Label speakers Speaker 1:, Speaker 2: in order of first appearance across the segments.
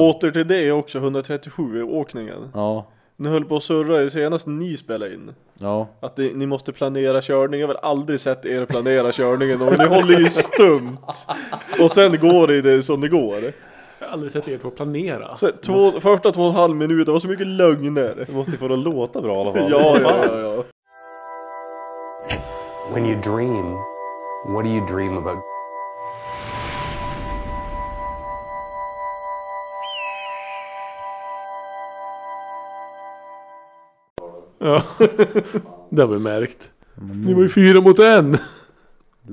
Speaker 1: Åter till det också, 137 i åkningen.
Speaker 2: Ja,
Speaker 1: Ni höll på att surra i senast ni spelade in.
Speaker 2: ja.
Speaker 1: Att ni, ni måste planera körning. Jag har väl aldrig sett er planera körningen och ni håller ju stumt. Och sen går det i det som det går.
Speaker 3: Jag har aldrig sett er två planera.
Speaker 1: Så två, första två och en halv minut, det var så mycket lögner.
Speaker 2: Du måste ju få det att låta bra i alla
Speaker 1: Ja,
Speaker 2: fall.
Speaker 1: ja, ja, ja.
Speaker 4: When you dream, what do you dream about?
Speaker 3: Ja. Det har vi märkt. Ni var ju fyra mot en!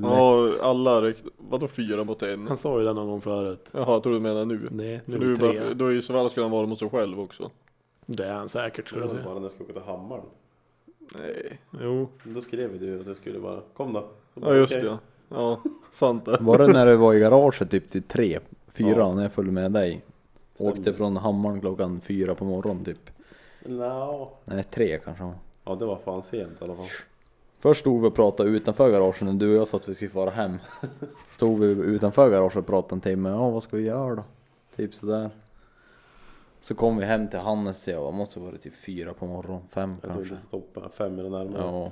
Speaker 1: Ja, alla räknar. Vadå fyra mot en?
Speaker 3: Han sa ju det någon gång förut.
Speaker 1: Jaha, jag tror du menar nu.
Speaker 3: Nej,
Speaker 1: För
Speaker 3: nu är
Speaker 1: nu
Speaker 3: det
Speaker 1: är bara,
Speaker 3: tre.
Speaker 1: då är ju så väl skulle han vara mot sig själv också.
Speaker 3: Det är han säkert skulle jag
Speaker 2: Jag
Speaker 3: säga.
Speaker 2: bara när jag ska åka till Hammaren.
Speaker 1: Nej.
Speaker 3: Jo.
Speaker 2: Då skrev ju du att jag skulle bara, kom då. Så bara,
Speaker 1: Ja, just
Speaker 2: okej.
Speaker 1: det. Ja, sant det.
Speaker 5: Var det när du var i garaget typ till tre, fyra
Speaker 2: Ja.
Speaker 5: när jag följde med dig?
Speaker 2: Stämmer.
Speaker 5: Åkte från Hammaren klockan fyra på morgonen typ.
Speaker 2: Nja.
Speaker 5: Nej, tre kanske det var.
Speaker 2: Ja, det var fan sent i alla fall.
Speaker 5: Först stod vi och pratade utanför garaget när du och jag sa att vi skulle fara hem. Stod vi utanför garaget och pratade en timme, ja vad ska vi göra då? Typ sådär. Så kom vi hem till Hannes, jag måste vara typ fyra på morgonen, fem
Speaker 2: Jag tror
Speaker 5: kanske.
Speaker 2: inte stoppa fem eller närmare.
Speaker 5: Ja.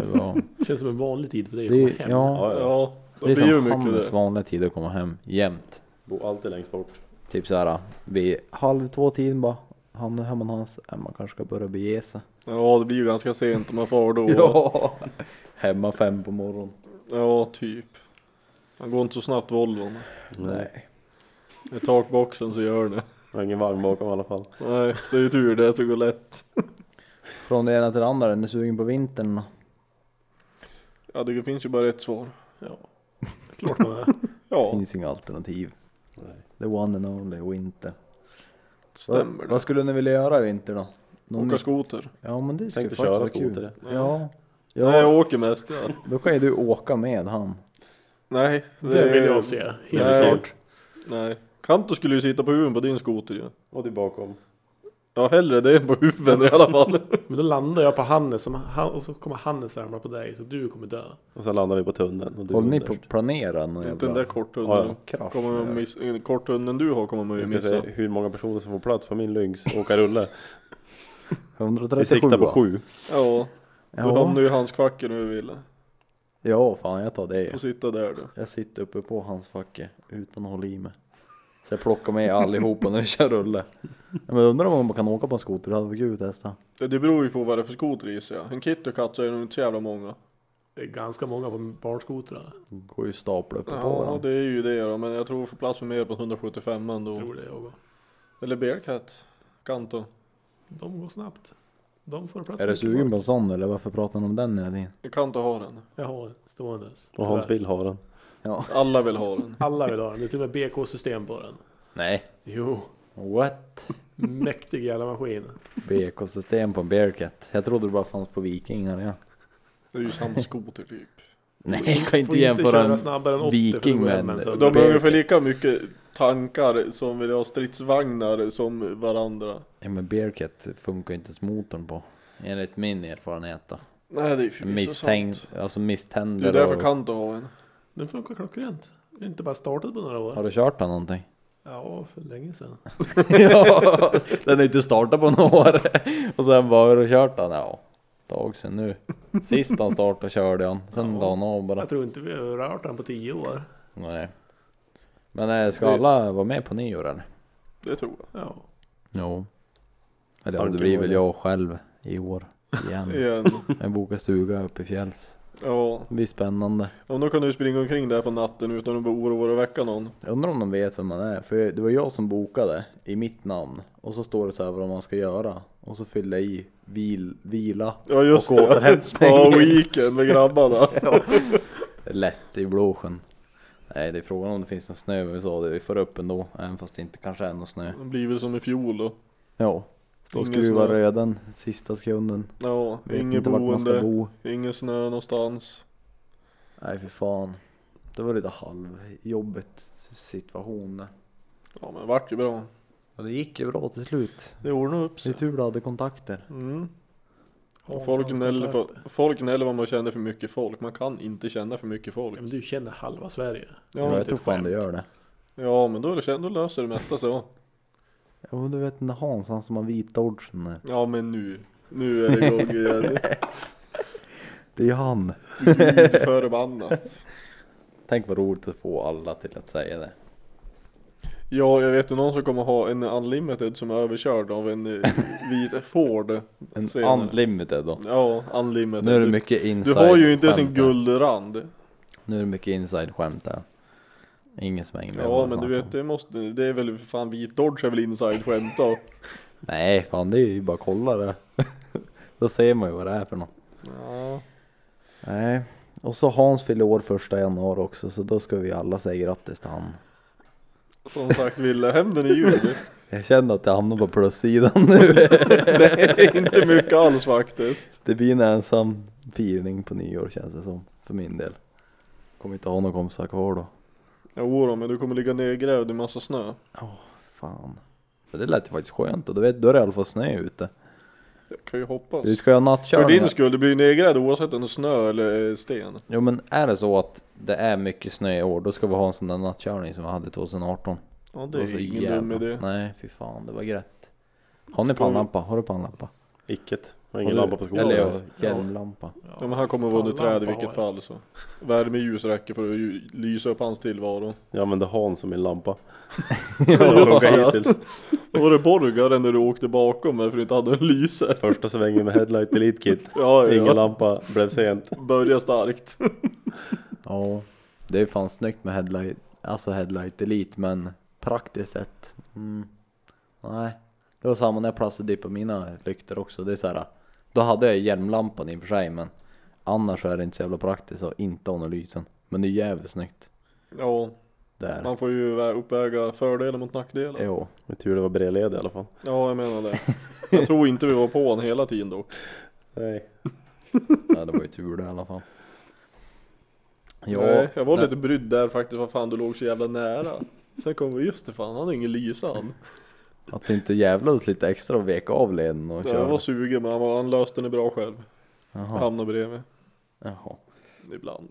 Speaker 5: Det var...
Speaker 3: Känns som en vanlig tid för dig att komma
Speaker 5: Det,
Speaker 3: hem.
Speaker 5: ja,
Speaker 2: ja, ja.
Speaker 1: Ja, det
Speaker 5: det är
Speaker 1: blir ju
Speaker 5: som
Speaker 1: mycket
Speaker 5: Hannes
Speaker 1: det.
Speaker 5: vanliga tid att komma hem, jämt.
Speaker 2: Bo alltid längst bort.
Speaker 5: Typ såhär vid halv två tiden bara. Han är hemma hos hans, äh, man kanske ska börja bege sig.
Speaker 1: Ja, det blir ju ganska sent om man far då.
Speaker 5: Hemma fem på morgonen.
Speaker 1: Ja, typ. Han går inte så snabbt Volvon.
Speaker 5: Nej.
Speaker 1: I takboxen så gör det.
Speaker 2: Jag har ingen varm bakom i alla fall.
Speaker 1: Nej, det är ju tur det, så går lätt.
Speaker 5: Från det ena till det andra, den är sugen på vintern.
Speaker 1: Ja, det finns ju bara ett svar.
Speaker 3: Ja. Klart man är.
Speaker 1: Ja,
Speaker 5: Finns inga alternativ.
Speaker 2: Nej.
Speaker 5: The one and only winter.
Speaker 1: stämmer det.
Speaker 5: vad, vad skulle ni vilja göra i vinter då? Någon-
Speaker 1: Åka skoter.
Speaker 5: Ja men det skulle
Speaker 2: Tänkte
Speaker 5: faktiskt
Speaker 2: köra
Speaker 5: vara kul.
Speaker 2: skoter.
Speaker 5: Ja.
Speaker 1: Nej,
Speaker 5: ja.
Speaker 1: jag åker mest. Ja.
Speaker 5: Då kan ju du åka med han.
Speaker 1: Nej,
Speaker 3: Det vill jag se. Helt
Speaker 1: Nej.
Speaker 3: klart.
Speaker 1: Nej. Kanto skulle ju sitta på huven på din skoter ju.
Speaker 2: Och du bakom.
Speaker 1: Ja, hellre det än på huven i alla fall.
Speaker 3: Men då landar jag på Hannes som, han, och så kommer Hannes ramla på dig så du kommer dö.
Speaker 2: Och sen landar vi på tunneln. Och du
Speaker 5: Håller
Speaker 2: är
Speaker 5: ni på
Speaker 2: underst.
Speaker 5: att planera någon
Speaker 1: Inte den
Speaker 5: jävla
Speaker 1: där korthunden.
Speaker 5: krasch?
Speaker 1: Kommer man
Speaker 5: där?
Speaker 1: miss- en korthunden du har kommer man ju
Speaker 2: Jag ska
Speaker 1: missa.
Speaker 2: se hur många personer som får plats på min lynx och åka rulle. Vi
Speaker 5: 137
Speaker 2: siktar på
Speaker 5: va?
Speaker 2: sju.
Speaker 1: Ja, du hamnar
Speaker 5: Ja.
Speaker 1: ju i hans kvacker nu Wille.
Speaker 5: ja fan jag tar det.
Speaker 1: Får sitta där du.
Speaker 5: Jag sitter uppe på hans facke utan att hålla i mig. Så jag plockar med allihopa när vi kör rulle. Ja, Men undrar om man kan åka på en skoter, det hade varit kul att testa.
Speaker 1: Ja, Det beror ju på vad det är för skoter gissar jag. En kit och katt så är det nog inte så jävla många.
Speaker 3: Det är ganska många på barnskotrar.
Speaker 5: Går ju stapla uppe på
Speaker 1: Ja,
Speaker 5: varandra.
Speaker 1: det är ju det då. Men jag tror får plats för mer på 175 ändå.
Speaker 3: Tror det jag.
Speaker 1: Eller Bearcat. Kanton.
Speaker 3: De går snabbt. De får plats.
Speaker 5: Är du
Speaker 3: mycket
Speaker 5: sugen
Speaker 3: folk.
Speaker 5: på en sån eller varför pratar ni om den hela tiden?
Speaker 1: Jag kan inte ha den.
Speaker 3: Jag har ståendes.
Speaker 2: Och Hans
Speaker 3: Tyvärr.
Speaker 2: vill ha den.
Speaker 5: Ja.
Speaker 1: Alla vill ha den.
Speaker 3: Alla vill ha den. Det är till och med BK-system på den.
Speaker 5: Nej.
Speaker 3: Jo,
Speaker 5: What?
Speaker 3: mäktig jävla maskin.
Speaker 5: BK-system på en Bearcat. Jag trodde det bara fanns på Vikingar ja.
Speaker 1: Det är ju samma skoter typ.
Speaker 5: Nej, jag kan inte
Speaker 3: Får inte
Speaker 5: jämföra
Speaker 3: köra
Speaker 5: en...
Speaker 3: snabbare än 80
Speaker 5: Viking
Speaker 3: för då går
Speaker 5: med
Speaker 3: hemmen
Speaker 5: en-
Speaker 3: sönder.
Speaker 1: De har
Speaker 5: Bearcat.
Speaker 1: ungefär lika mycket tankar som vill ha stridsvagnar som varandra.
Speaker 5: Ja men Bearcat funkar ju inte ens motorn på. Enligt min erfarenhet då.
Speaker 1: Nej det är ju förvisso sant.
Speaker 5: Misstänkt, alltså
Speaker 1: Det är
Speaker 5: misständer
Speaker 1: därför
Speaker 5: och...
Speaker 1: Kanto har en.
Speaker 3: Den funkar klockrent. Jag har inte bara startat på några
Speaker 5: Har
Speaker 3: år.
Speaker 5: du kört den någonting?
Speaker 3: Ja, för länge sedan.
Speaker 5: ja, den är inte startat på några år. Och sen bara, har du kört den? Ja, ett tag sedan nu. Sist han startade körde han, sen
Speaker 3: Ja.
Speaker 5: la han av bara.
Speaker 3: Jag tror inte vi har rört den på 10 år.
Speaker 5: Nej. Men eh, ska alla vara med på nyår eller?
Speaker 1: Det tror jag.
Speaker 3: Ja.
Speaker 5: Jo. Eller ja,
Speaker 2: Tanken
Speaker 5: det blir
Speaker 2: var
Speaker 5: väl
Speaker 2: det.
Speaker 5: jag själv i år igen.
Speaker 1: Igen.
Speaker 5: Jag bokar stuga uppe i fjälls.
Speaker 1: Ja.
Speaker 5: Det blir spännande.
Speaker 1: Om då kan du springa omkring där på natten utan att behöva oroa dig och väcka någon.
Speaker 5: Jag undrar om de vet vem man är, för det var jag som bokade i mitt namn. Och så står det så här vad man ska göra. Och så fyllde jag i vil, vila.
Speaker 1: Ja just
Speaker 5: Och
Speaker 1: det.
Speaker 5: återhämtning.
Speaker 1: Spa-weekend med grabbarna.
Speaker 5: Lätt i Blåsjön. Nej, det är frågan om det finns någon snö, men vi sa det, vi får upp ändå, även fast det inte kanske är någon snö.
Speaker 1: Det blir väl som i fjol då.
Speaker 5: Ja, stå och
Speaker 1: Ingen
Speaker 5: skruva
Speaker 1: snö.
Speaker 5: röden sista sekunden.
Speaker 1: Ja,
Speaker 5: Vet
Speaker 1: inget
Speaker 5: inte vart man ska
Speaker 1: boende,
Speaker 5: bo.
Speaker 1: ingen snö någonstans.
Speaker 5: Nej, för fan. Det var lite halvjobbigt situation. där.
Speaker 1: Ja men det vart ju bra.
Speaker 5: Ja, det gick ju bra till slut.
Speaker 1: Det ordnade upp
Speaker 5: Det är
Speaker 1: sig.
Speaker 5: tur du hade kontakter.
Speaker 1: Mm.
Speaker 3: Hanssons
Speaker 1: Folk gnäller på,
Speaker 3: kontakter.
Speaker 1: folk gnäller vad man känner för mycket folk. Man kan inte känna för mycket
Speaker 3: Ja,
Speaker 1: folk.
Speaker 3: men du känner halva Sverige.
Speaker 5: Ja,
Speaker 1: Ja,
Speaker 5: jag tror fan du gör det.
Speaker 1: ja men då, är det, då löser det mesta så.
Speaker 5: Ja men du vet den där Hans, han som har vita ordsen där.
Speaker 1: Ja men nu, nu är det eh, igång igen.
Speaker 5: Det är ju han.
Speaker 1: Gud förbannat.
Speaker 5: Tänk vad roligt att få alla till att säga det.
Speaker 1: Ja, jag vet ju någon som kommer ha en unlimited som är överkörd av en eh, vit Ford.
Speaker 5: En
Speaker 1: senare.
Speaker 5: unlimited då.
Speaker 1: Ja, unlimited.
Speaker 5: Nu är det
Speaker 1: Du-
Speaker 5: mycket
Speaker 1: Du
Speaker 5: inside
Speaker 1: har ju inte ens en
Speaker 5: skämt här.
Speaker 1: guldrand.
Speaker 5: Nu är det mycket inside skämt där. Ingen som hänger med
Speaker 1: Ja
Speaker 5: vad
Speaker 1: men du
Speaker 5: jag
Speaker 1: vet,
Speaker 5: snackar
Speaker 1: det, måste, det är väl för fan vit Dodge är väl inside skämt då?
Speaker 5: om. Nej fan det är ju bara att kolla det. då ser man ju vad det är för något.
Speaker 1: Ja.
Speaker 5: Nej. Och så Hans fyller år första januari också så då ska vi alla säga grattis till han.
Speaker 1: Som sagt, Villehämnden i juli.
Speaker 5: Jag känner att jag hamnar på plussidan nu.
Speaker 1: Nej, inte mycket alls faktiskt.
Speaker 5: Det blir en ensam firning på nyår känns det som. För min del. Kommer inte ha några kompisar kvar då.
Speaker 1: Jo då, men du kommer ligga nedgrävd i massa snö.
Speaker 5: Fan. Men Det lät ju faktiskt skönt och du vet, då är det i alla fall snö ute.
Speaker 1: Jag kan ju hoppas.
Speaker 5: Vi ska ju ha
Speaker 1: För din
Speaker 5: nattkörning.
Speaker 1: skull, du blir nedgrävd oavsett om det är snö eller eh, sten.
Speaker 5: Jo men är det så att det är mycket snö i år, då ska vi ha en sån där nattkörning som vi hade 2018.
Speaker 1: Ja det
Speaker 5: var
Speaker 1: är
Speaker 5: så
Speaker 1: ingen dum
Speaker 5: jävla-
Speaker 1: idé.
Speaker 5: Nej fy fan, det var grätt. Har ni pannlampa? Har du pannlampa?
Speaker 2: Icket. Har ingen
Speaker 5: Har du-
Speaker 2: lampa på skolan.
Speaker 5: Eller ja,
Speaker 2: ens.
Speaker 5: hjälmlampa.
Speaker 1: Ja men han kommer vara under träd i
Speaker 3: Pannlampa
Speaker 1: vilket
Speaker 3: har
Speaker 1: fall så. Värmeljus räcker för att ju- lysa upp hans tillvaro.
Speaker 2: Jag använde han som min lampa.
Speaker 1: Ja,
Speaker 2: Det funkar
Speaker 1: ja.
Speaker 2: hittills.
Speaker 1: Då var det Borgaren när du åkte bakom mig för att du inte hade en lyse.
Speaker 2: Första svängen med headlight delete kit.
Speaker 1: Ja, ja.
Speaker 2: Ingen lampa, blev sent.
Speaker 1: Börja starkt.
Speaker 5: Ja, det är fan snyggt med headlight, alltså headlight delete men praktiskt sett, mm, nej. Det var samma när jag plastade på mina lyktor också, det är så här. då hade jag hjälmlampan i och för sig men annars är det inte så jävla praktiskt att inte ha någon lysen. Men det är jävligt snyggt.
Speaker 1: Ja,
Speaker 5: Där.
Speaker 1: man får ju vä- uppväga fördelar mot nackdelar.
Speaker 5: Jo,
Speaker 2: Det är tur det var bredled i alla fall.
Speaker 1: Ja jag menar det. Jag tror inte vi var på honom hela tiden dock.
Speaker 2: Nej.
Speaker 5: ja, det var ju tur det i alla fall. Ja,
Speaker 1: Nej, jag var
Speaker 5: nej.
Speaker 1: lite brydd där faktiskt, vad fan du låg så jävla nära. Sen kom vi, just det fan han har ingen lysa han.
Speaker 5: att det inte jävlades lite extra och vek av leden och
Speaker 1: Jag var
Speaker 5: körde.
Speaker 1: sugen men han, var, han löste det bra själv.
Speaker 5: Jaha,
Speaker 1: Hamnade bredvid.
Speaker 5: jaha.
Speaker 1: Ibland.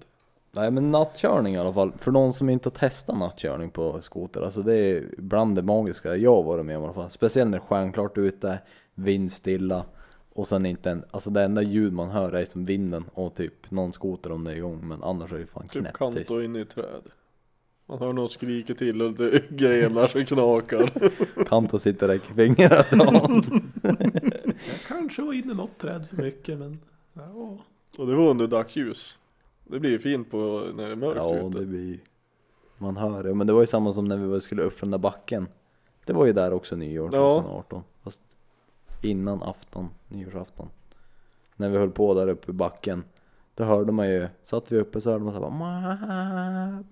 Speaker 5: Nej men nattkörning i alla fall, för någon som inte har testat nattkörning på skoter, alltså det är bland det magiska jag har varit med om i alla fall. Speciellt när det är stjärnklart ute, vindstilla och sen inte en, alltså det enda ljud man hör är som vinden och typ någon skoter om det är igång men annars är det fan
Speaker 1: Typ
Speaker 5: knäpptyst.
Speaker 1: kant och in i träd. Man hör någon skrika till och lite grenar som knakar.
Speaker 5: Kanto sitter och räcker fingret åt.
Speaker 3: Jag kanske var inne i något träd för mycket men... Ja.
Speaker 1: Och det var under dagsljus. Det blir ju fint på när det är mörkt
Speaker 5: Ja
Speaker 1: ute.
Speaker 5: det blir man hör det, men det var ju samma som när vi var- skulle upp för den där backen. Det var ju där också nyår
Speaker 1: Ja.
Speaker 5: 2018, fast innan afton, nyårsafton. När vi höll på där uppe i backen, då hörde man ju, satt vi uppe så hörde man såhär bara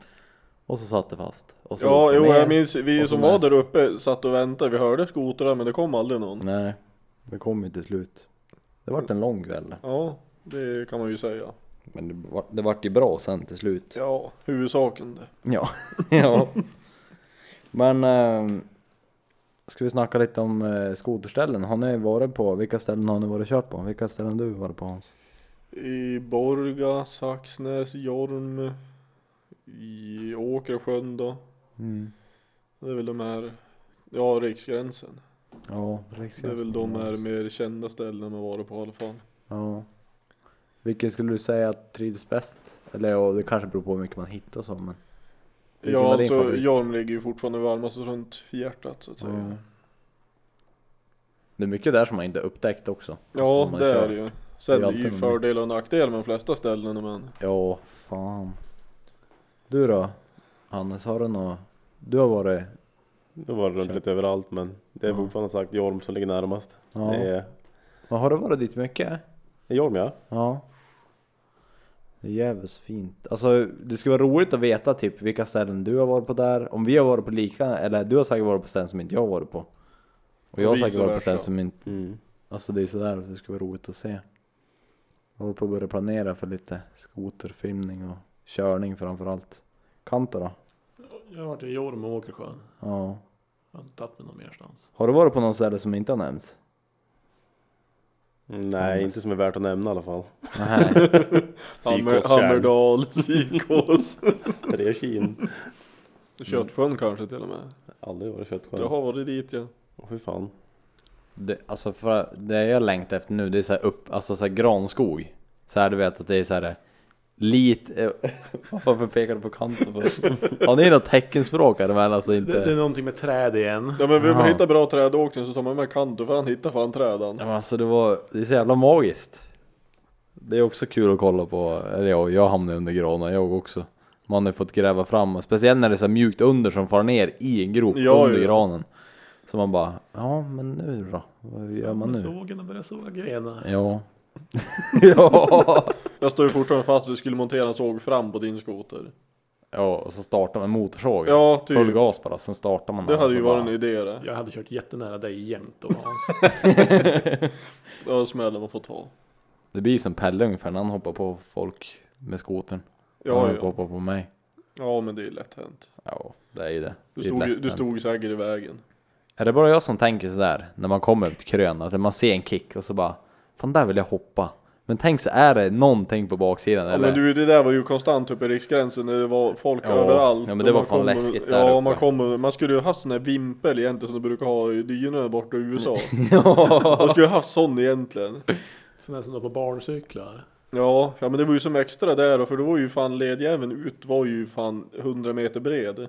Speaker 5: Och så satt det fast. Och så
Speaker 1: Ja,
Speaker 5: åkte
Speaker 1: jo
Speaker 5: ner.
Speaker 1: jag minns, vi
Speaker 5: och så
Speaker 1: som var
Speaker 5: näst.
Speaker 1: där uppe satt och väntade, vi hörde skotrar men det kom aldrig någon.
Speaker 5: Nej, det kom ju till slut. Det vart en lång kväll,
Speaker 1: Ja, det kan man ju säga.
Speaker 5: men det vart, det vart ju bra sen till slut.
Speaker 1: Ja, huvudsaken det.
Speaker 5: Ja, ja. Men eh, ska vi snacka lite om eh, skoterställen? Har ni varit på, vilka ställen har ni varit och kört på? Vilka ställen har du varit på Hans?
Speaker 1: I Borga, Saxnäs, Jorm, i Åkersjön då. Det är väl de här, ja Riksgränsen.
Speaker 5: Ja,
Speaker 1: Det är väl de här mer kända ställena man varit på i alla fall.
Speaker 5: Ja. Vilken skulle du säga att trivs bäst? Eller ja, det kanske beror på hur mycket man hittar och så men. Vilken
Speaker 1: Ja,
Speaker 5: var din
Speaker 1: alltså
Speaker 5: favorit?
Speaker 1: Jorm ligger ju fortfarande varmast runt hjärtat så att säga.
Speaker 5: Ja. Det är mycket där som man inte har upptäckt också.
Speaker 1: Ja,
Speaker 5: Som man
Speaker 1: det
Speaker 5: kör.
Speaker 1: är det alltså, ju. Sen
Speaker 5: Det
Speaker 1: det
Speaker 5: är
Speaker 1: är
Speaker 5: alltid
Speaker 1: ju
Speaker 5: en-
Speaker 1: fördelar och nackdelar med de flesta ställena men
Speaker 5: Ja, fan. Du då? Hannes, har du något? Du har varit?
Speaker 2: Då var det runt lite överallt men det är fortfarande sagt Jorm som ligger närmast.
Speaker 5: Ja.
Speaker 2: Det är
Speaker 5: Men har du varit dit mycket?
Speaker 2: Jorm ja.
Speaker 5: Ja. Det är jävligt fint. Alltså det skulle vara roligt att veta typ vilka ställen du har varit på där. Om vi har varit på lika, eller du har säkert varit på ställen som inte jag har varit på. Och jag har
Speaker 1: vice
Speaker 5: säkert varit på ställen
Speaker 1: versa.
Speaker 5: som inte...
Speaker 2: Mm.
Speaker 5: Alltså det är sådär, det skulle vara roligt att se. Jag håller på att börja planera för lite skoterfilmning och körning framförallt. Kanto då?
Speaker 3: Jag har varit i Jorm och Åkersjön.
Speaker 5: Ja.
Speaker 3: Jag har inte tagit mig någon merstans.
Speaker 5: Har du varit på något ställe som inte har nämnts?
Speaker 2: Mm, Nej, inte som är värt att nämna i alla fall.
Speaker 5: Nej.
Speaker 1: Hammer,
Speaker 2: Sikåstjärn.
Speaker 1: Hammerdal, Sikås
Speaker 2: Tre kin.
Speaker 1: Köttsjön kanske till och med
Speaker 2: Aldrig varit köttskär.
Speaker 1: Jag har varit dit ja
Speaker 2: Hur fan?
Speaker 5: Det, alltså för, det jag längtar efter nu det är så här upp, alltså så här granskog. Så här du vet att det är så här lite... eh, Varför pekar du på kanten? På? Har ni något teckenspråk här men alltså
Speaker 3: Det, det är
Speaker 5: inte...
Speaker 3: någonting med träd igen.
Speaker 1: Ja men vill man
Speaker 5: Jaha.
Speaker 1: hitta bra trädåkning så tar man med kanto för han hittar fan trädan.
Speaker 5: Ja, men alltså det var, det är så jävla magiskt. Det är också kul att kolla på, eller jag, jag hamnade under granar jag också. Man har fått gräva fram, speciellt när det är så här mjukt under som far ner i en grop
Speaker 1: Ja,
Speaker 5: under
Speaker 1: ja.
Speaker 5: granen. Så man bara, ja men nu då? Vad gör man
Speaker 3: Med
Speaker 5: nu?
Speaker 3: sågen och börjar såga grenar.
Speaker 5: Ja. ja.
Speaker 1: Jag står ju fortfarande fast du skulle montera en såg fram på din skoter.
Speaker 5: Ja, och så startar man motorsågen.
Speaker 1: Ja, typ.
Speaker 5: Full gas bara, sen startar man
Speaker 1: Det
Speaker 5: den
Speaker 1: hade
Speaker 5: och
Speaker 1: ju
Speaker 5: så
Speaker 1: varit en
Speaker 5: alltså, bara-
Speaker 1: idé det.
Speaker 3: Jag hade kört jättenära dig jämt då Hans.
Speaker 1: Ja, smällen man får ta.
Speaker 5: Det blir som Pelle ungefär när han hoppar på folk med skotern.
Speaker 1: Ja,
Speaker 5: han
Speaker 1: ja.
Speaker 5: hoppar på mig.
Speaker 1: ja men det är lätt hänt.
Speaker 5: Ja, det är ju det.
Speaker 1: Du
Speaker 5: Det är
Speaker 1: stod, ju-
Speaker 5: lätt
Speaker 1: du
Speaker 5: hänt.
Speaker 1: stod ju säkert i vägen.
Speaker 5: Är det bara jag som tänker sådär när man kommer till krön? Att man ser en kick och så bara Fan där vill jag hoppa. Men tänk så är det någonting på baksidan
Speaker 1: Ja,
Speaker 5: eller?
Speaker 1: men du, det där var ju konstant uppe i riksgränsen när det var folk
Speaker 5: Ja.
Speaker 1: överallt.
Speaker 5: Ja, men
Speaker 1: och
Speaker 5: det var
Speaker 1: man
Speaker 5: fan
Speaker 1: kom-
Speaker 5: läskigt där
Speaker 1: Ja,
Speaker 5: uppe.
Speaker 1: man, kom, man skulle ju haft sån här vimpel egentligen som de brukar ha i dynorna borta i USA. man skulle ju haft sån egentligen.
Speaker 3: Sådana som då på barncyklar.
Speaker 1: Ja, ja men det var ju som extra där och för då var ju fan ledjäveln ut var ju fan 100 meter bred.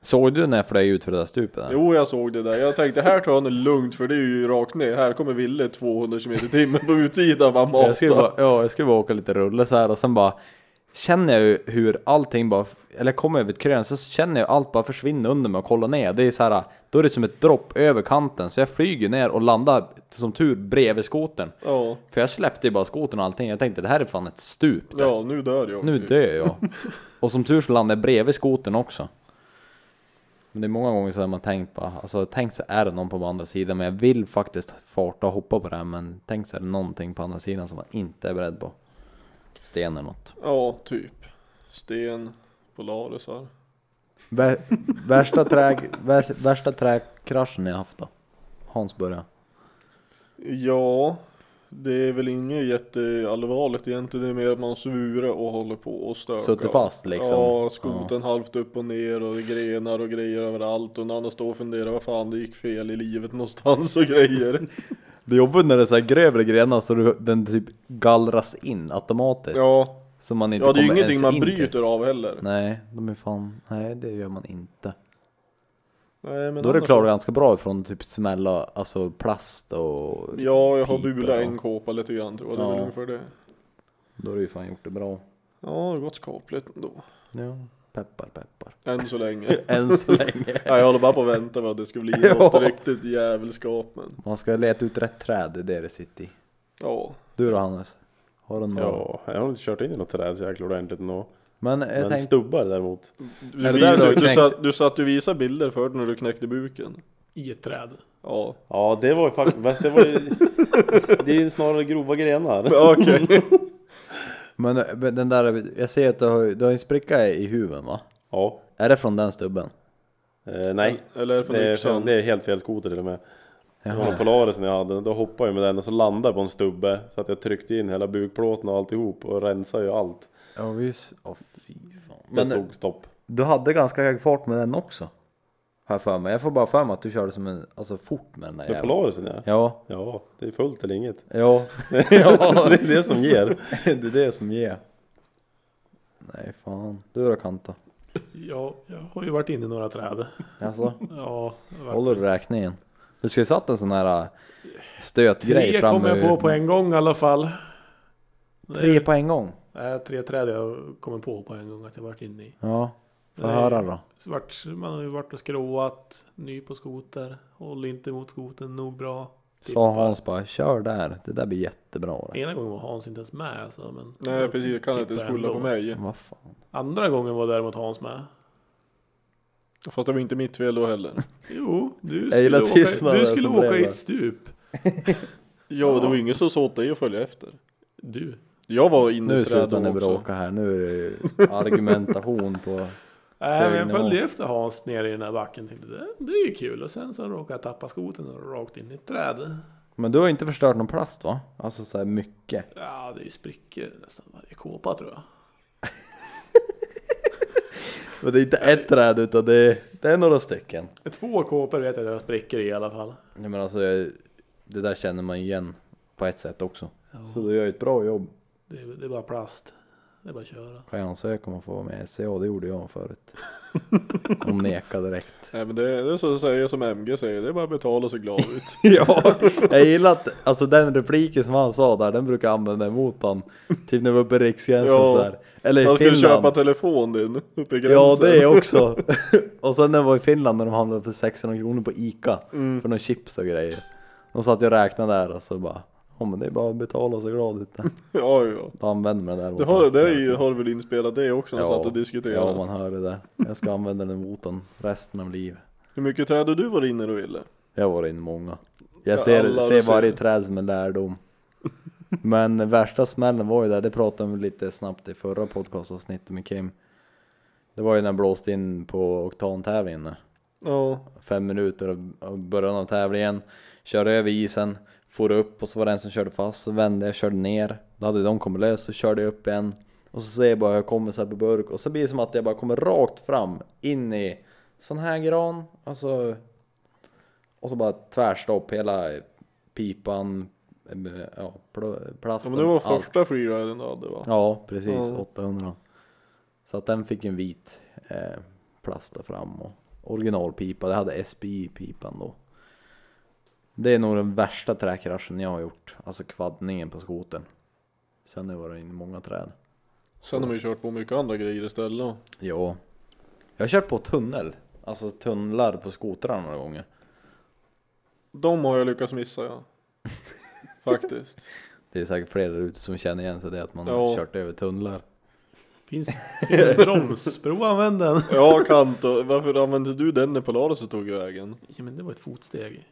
Speaker 5: Såg du när jag flög ut för det där stupet? Där?
Speaker 1: Jo, jag såg det där. Jag tänkte här tar han det lugnt för det är ju rakt ner. Här kommer Ville 200 km i timmen på utsidan. Man matar.
Speaker 5: Jag skulle, bara, ja, jag skulle bara åka lite rulle så här och sen bara Känner jag ju hur allting bara, eller jag kommer över ett krön så känner jag allt bara försvinna under mig och kolla ner. Det är så här, då är det som ett dropp över kanten. Så jag flyger ner och landar som tur bredvid skotern.
Speaker 1: Ja,
Speaker 5: För jag släppte ju bara skotern och allting. Jag tänkte det här är fan ett stup.
Speaker 1: ja, nu dör jag.
Speaker 5: Nu dör jag. Och som tur så landade jag bredvid skotern också. Men det är många gånger så har man tänkt bara, alltså tänk så är det någon på andra sidan men jag vill faktiskt farta och hoppa på det här men tänk så är det någonting på andra sidan som man inte är beredd på. Sten eller något.
Speaker 1: Ja, typ. Sten, Polarisar.
Speaker 5: värsta, trä, värsta träkraschen jag haft då? Hans börja.
Speaker 1: Ja, det är väl inget jätteallvarligt egentligen. Det är mer att man svurar och håller på och stökar.
Speaker 5: Suttit fast, liksom.
Speaker 1: Ja, skoten halvt upp och ner och grenar och grejer överallt. Och en annan står och funderar vad fan det gick fel i livet någonstans och grejer.
Speaker 5: Det är jobbigt när det är så här grövre grenar så du- den typ gallras in automatiskt.
Speaker 1: Ja,
Speaker 5: Så man inte
Speaker 1: ja det är ju
Speaker 5: kommer
Speaker 1: ingenting
Speaker 5: ens
Speaker 1: man
Speaker 5: in till.
Speaker 1: bryter av heller.
Speaker 5: Nej, de är fan, nej det gör man inte.
Speaker 1: Nej, men
Speaker 5: Då är det
Speaker 1: annars-
Speaker 5: klart ganska bra ifrån typ smälla, alltså plast och
Speaker 1: Ja, jag har
Speaker 5: pipor
Speaker 1: bula
Speaker 5: och-
Speaker 1: en kåpa lite grann tror jag. Det är
Speaker 5: Ja.
Speaker 1: väl ungefär det.
Speaker 5: Då har du ju fan gjort det bra.
Speaker 1: Ja, det har gått skapligt ändå.
Speaker 5: Ja. Peppar peppar.
Speaker 1: Än så länge.
Speaker 5: Än så länge.
Speaker 1: Ja, jag håller bara på att vänta på att det ska bli
Speaker 5: Ja.
Speaker 1: något riktigt jävelskap men.
Speaker 5: Man ska leta ut rätt träd, det är det det sitter i.
Speaker 1: Ja.
Speaker 5: Du då Hannes? Har du någon?
Speaker 2: Ja, jag har inte kört in i något träd så jäkla ordentligt nå.
Speaker 5: Men jag
Speaker 2: Men
Speaker 5: tänkte...
Speaker 2: stubbar däremot.
Speaker 1: Du,
Speaker 5: Är det där
Speaker 1: visar-
Speaker 5: du har
Speaker 1: du,
Speaker 5: knäckt?
Speaker 1: satt, du satt du visade bilder för när du knäckte buken.
Speaker 3: I ett träd.
Speaker 1: Ja.
Speaker 2: Ja, det var ju faktiskt, fast det var ju... Det är ju snarare grova grenar.
Speaker 1: Okej.
Speaker 5: Men eh, men den där, jag ser att du har, ju- du har en spricka i huven va?
Speaker 2: Ja.
Speaker 5: Är det från den stubben?
Speaker 2: Eh, nej.
Speaker 1: Eller från
Speaker 2: Det är,
Speaker 1: yxan.
Speaker 2: det är helt fel skoter till och med. Det var en Polarisen jag hade, då hoppade jag med den och så landade jag på en stubbe. Så att jag tryckte in hela bukplåten och alltihop och rensade ju allt.
Speaker 5: Ja visst. Åh fy fan.
Speaker 2: Det
Speaker 5: Men
Speaker 2: tog stopp.
Speaker 5: du hade ganska hög fart med den också. Har jag för mig. Jag får bara för mig att du körde som en, alltså fort med den där
Speaker 2: Med
Speaker 5: jäveln.
Speaker 2: Polarisen ja.
Speaker 5: Ja,
Speaker 2: Ja, det är fullt eller inget.
Speaker 5: Ja,
Speaker 2: Ja, det är det som ger.
Speaker 5: det är det som ger. Nej fan, du då Kanta?
Speaker 3: Ja, jag har ju varit inne i några träd.
Speaker 5: Alltså,
Speaker 3: Ja, jag har varit-
Speaker 5: håller du räkningen? Du skulle satt en sån här äh, stötgrej
Speaker 3: Tre
Speaker 5: fram
Speaker 3: kommer jag
Speaker 5: ur-
Speaker 3: på på en gång i alla fall.
Speaker 5: Tre på en gång?
Speaker 3: Nej, tre träd jag kommer på på en gång att jag varit inne i.
Speaker 5: Ja, får
Speaker 3: Nej.
Speaker 5: höra då.
Speaker 3: Så vart, man har ju varit och skroat, ny på skoter, håller inte emot skoten nog bra.
Speaker 5: Sa Hans bara, kör där, det där blir jättebra. Det.
Speaker 3: Ena gången var Hans inte ens med alltså, men
Speaker 1: Nej precis, jag kan inte
Speaker 3: Typ
Speaker 1: ens skylla på mig.
Speaker 5: Vad fan?
Speaker 3: Andra gången var däremot Hans med.
Speaker 1: Fast det var inte mitt fel då heller.
Speaker 3: Jo, du
Speaker 5: Jag
Speaker 3: skulle
Speaker 5: gillar
Speaker 3: åka,
Speaker 5: tystnaden
Speaker 3: du skulle
Speaker 5: som
Speaker 3: åka
Speaker 5: blev
Speaker 3: i
Speaker 5: där.
Speaker 3: ett stup.
Speaker 1: Ja, det var ingen som såg åt dig att följa efter.
Speaker 3: Du.
Speaker 1: Jag var inne i
Speaker 5: Nu
Speaker 1: trädet
Speaker 5: slutar ni
Speaker 1: också.
Speaker 5: bråka här, nu är det ju argumentation på...
Speaker 3: Nej, men
Speaker 5: Hög
Speaker 3: jag
Speaker 5: nivå.
Speaker 3: följde efter Hans nere i den här backen. Tänkte, det, det är ju kul. Och sen så råkade jag tappa skoten och rakt in i ett träd.
Speaker 5: Men du har inte förstört någon plast va? Alltså så här mycket.
Speaker 3: Ja, det är ju sprickor i nästan varje kåpa tror jag.
Speaker 5: Men det är inte ett träd utan det är, det är några stycken.
Speaker 3: Två kåpor vet jag att jag har sprickor i i alla fall.
Speaker 5: Nej men alltså jag, det där känner man igen på ett sätt också. Så du gör ett bra jobb.
Speaker 3: Det är, det är bara plast. Det är bara att köra.
Speaker 5: Kan jag ansöka om att få vara med i SCA? Det gjorde jag förut. Hon nekade direkt.
Speaker 1: Nej men det, det är så att säga som MG säger, det är bara att betala och se glad ut.
Speaker 5: Ja, jag gillar att alltså den repliken som han sa där, den brukar jag använda emot han. Typ när vi var uppe i Riksgränsen
Speaker 1: Ja.
Speaker 5: så här. Eller i
Speaker 1: Han skulle
Speaker 5: Finland.
Speaker 1: köpa telefon din uppe i gränsen.
Speaker 5: Ja det också. och sen när jag var i Finland när de handlade för 600 kronor på Ica.
Speaker 1: Mm.
Speaker 5: För några chips och grejer. De sa att jag räknade där och så bara. Ja men det är bara att betala så glad ut.
Speaker 1: Ja, ja.
Speaker 5: Då använder man det där. mot
Speaker 1: Det har,
Speaker 5: han.
Speaker 1: det är ju- har du väl inspelat det också när ja.
Speaker 5: Ja.
Speaker 1: satt och diskuterade?
Speaker 5: Ja man hör det där. Jag ska använda den mot han resten av livet.
Speaker 1: Hur mycket träd har du varit inne och ville?
Speaker 5: Jag var inne i många. Jag
Speaker 1: Ja,
Speaker 5: ser,
Speaker 1: alla du
Speaker 5: ser varje
Speaker 1: ser.
Speaker 5: träd som en lärdom. Men värsta smällen var ju där, det pratade vi lite snabbt i förra podcastavsnittet med Kim. Det var ju när jag blåste in på oktantävlingen. där.
Speaker 1: Ja.
Speaker 5: Fem minuter av- av början av tävlingen. Körde över isen, for upp och så var det en som körde fast, så vände jag, körde ner. Då hade de kommit lös, så körde jag upp igen. Och så ser jag bara hur jag kommer så här på burk och så blir det som att jag bara kommer rakt fram in i sån här gran. Alltså och så bara tvärstopp hela pipan, eh, ja, pl-
Speaker 1: ja
Speaker 5: plasten.
Speaker 1: men det var
Speaker 5: allt.
Speaker 1: första freeriden du hade va?
Speaker 5: Ja, precis.
Speaker 1: Ja.
Speaker 5: 800. Så att den fick en vit eh, plast där fram och originalpipa. Det hade SBI i pipan då. Det är nog den värsta träkraschen jag har gjort. Alltså kvaddningen på skotern. Sen har det varit in i många träd.
Speaker 1: Sen har man ju kört på mycket andra grejer istället.
Speaker 5: Ja. Jag har kört på tunnel. Alltså tunnlar på skotrar några gånger.
Speaker 1: De har jag lyckats missa ja. Faktiskt.
Speaker 5: Det är säkert fler där ute som känner igen sig det att man
Speaker 1: Ja.
Speaker 5: har kört över tunnlar.
Speaker 3: Finns, finns en broms? Prova använd den.
Speaker 1: Ja Kanto, varför använde du den när Polaris tog vägen?
Speaker 3: Ja, men det var ett fotsteg.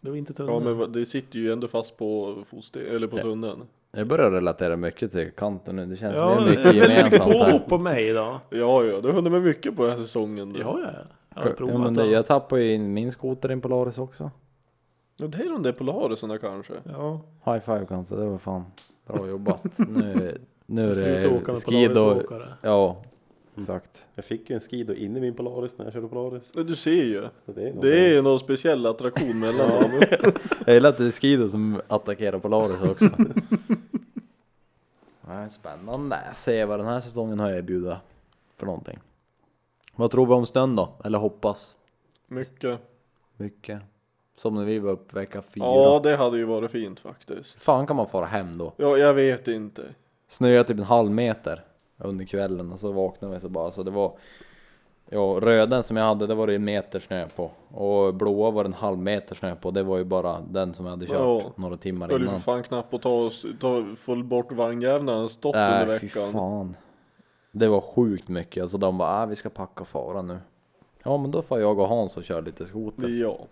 Speaker 3: Det var inte
Speaker 1: Ja
Speaker 3: tunneln.
Speaker 1: men va- det sitter ju ändå fast på fotsteg, eller på
Speaker 5: Ja.
Speaker 1: tunneln.
Speaker 5: Jag börjar relatera mycket till kanten nu. Det känns
Speaker 3: Ja,
Speaker 5: som
Speaker 3: det
Speaker 5: det är mycket
Speaker 3: är väldigt mycket
Speaker 5: gemensamt här.
Speaker 3: påhopp på mig idag.
Speaker 1: Ja ja, du har hunnit med mycket på den här säsongen. du.
Speaker 3: Ja, ja. Jag har
Speaker 5: Ja,
Speaker 3: provat
Speaker 5: men det,
Speaker 3: den.
Speaker 5: jag tappade ju in min skoter i en Polaris också.
Speaker 1: ja det är de där Polarisarna kanske.
Speaker 3: Ja.
Speaker 5: High five Kante, det var fan bra jobbat. Nu, nu är
Speaker 3: Sluta åka
Speaker 5: det
Speaker 3: med
Speaker 5: skid och...
Speaker 3: Polarisåkare.
Speaker 5: Ja, exakt.
Speaker 2: Jag fick ju en skido in i min Polaris när jag körde Polaris.
Speaker 1: Ja, Du ser ju.
Speaker 2: Så det är någonting.
Speaker 1: Det är någon speciell attraktion mellan dem.
Speaker 5: Jag gillar att det är skidor som attackerar Polaris också. Nej, Spännande, se vad den här säsongen har att erbjuda för någonting. Vad tror vi om snön då? Eller hoppas?
Speaker 1: Mycket.
Speaker 5: Mycket. Som när vi var uppe vecka fyra.
Speaker 1: Ja det hade ju varit fint faktiskt.
Speaker 5: Fan kan man fara hem då?
Speaker 1: Ja jag vet inte.
Speaker 5: snöade typ en halv meter under kvällen och så vaknade vi så bara så det var Ja, röden som jag hade, det var det en meter snö på och blåa var det en halv meter snö på. Det var ju bara den som jag hade kört
Speaker 1: Ja.
Speaker 5: några timmar
Speaker 1: Höll ju för
Speaker 5: innan.
Speaker 1: fan knappt att ta, oss, ta få bort vagnjävlarna han stått under
Speaker 5: Äh, fy
Speaker 1: veckan.
Speaker 5: fan. Det var sjukt mycket. Alltså de bara, äh, vi ska packa och fara nu. Ja, men då får jag och Hans och köra lite skoter.
Speaker 1: Vi, ja. Och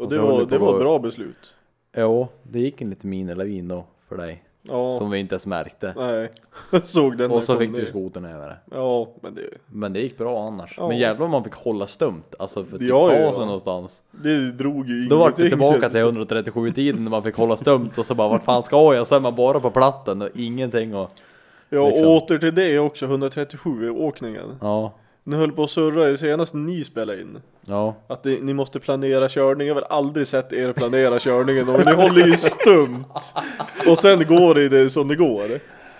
Speaker 5: Och
Speaker 1: det
Speaker 5: så håller
Speaker 1: var,
Speaker 5: vi på
Speaker 1: det var
Speaker 5: och-
Speaker 1: ett bra beslut.
Speaker 5: Jo, det gick en liten minilavin då för dig
Speaker 1: Ja.
Speaker 5: som vi inte ens märkte.
Speaker 1: Nej. Såg den när
Speaker 5: Och så
Speaker 1: jag kom
Speaker 5: fick du
Speaker 1: ner.
Speaker 5: skotern över det.
Speaker 1: Ja men det,
Speaker 5: Men det gick bra annars.
Speaker 1: Ja.
Speaker 5: Men jävlar om man fick hålla stumt, alltså för att
Speaker 1: Ja,
Speaker 5: ta
Speaker 1: ja.
Speaker 5: sig någonstans.
Speaker 1: det drog ju ingenting.
Speaker 5: Då vart det tillbaka
Speaker 1: kändes
Speaker 5: till
Speaker 1: det
Speaker 5: 137 tiden när man fick hålla stumt och så bara vart fan ska jag? Så är man bara på platten och ingenting och...
Speaker 1: Ja,
Speaker 5: liksom.
Speaker 1: och åter till det också, 137-åkningen.
Speaker 5: Ja,
Speaker 1: Ni höll på att surra i senast ni spelade in.
Speaker 5: ja.
Speaker 1: Att det, ni måste planera körning, jag har väl aldrig sett er planera körningen och ni håller ju stumt. Och sen går det, det som det går.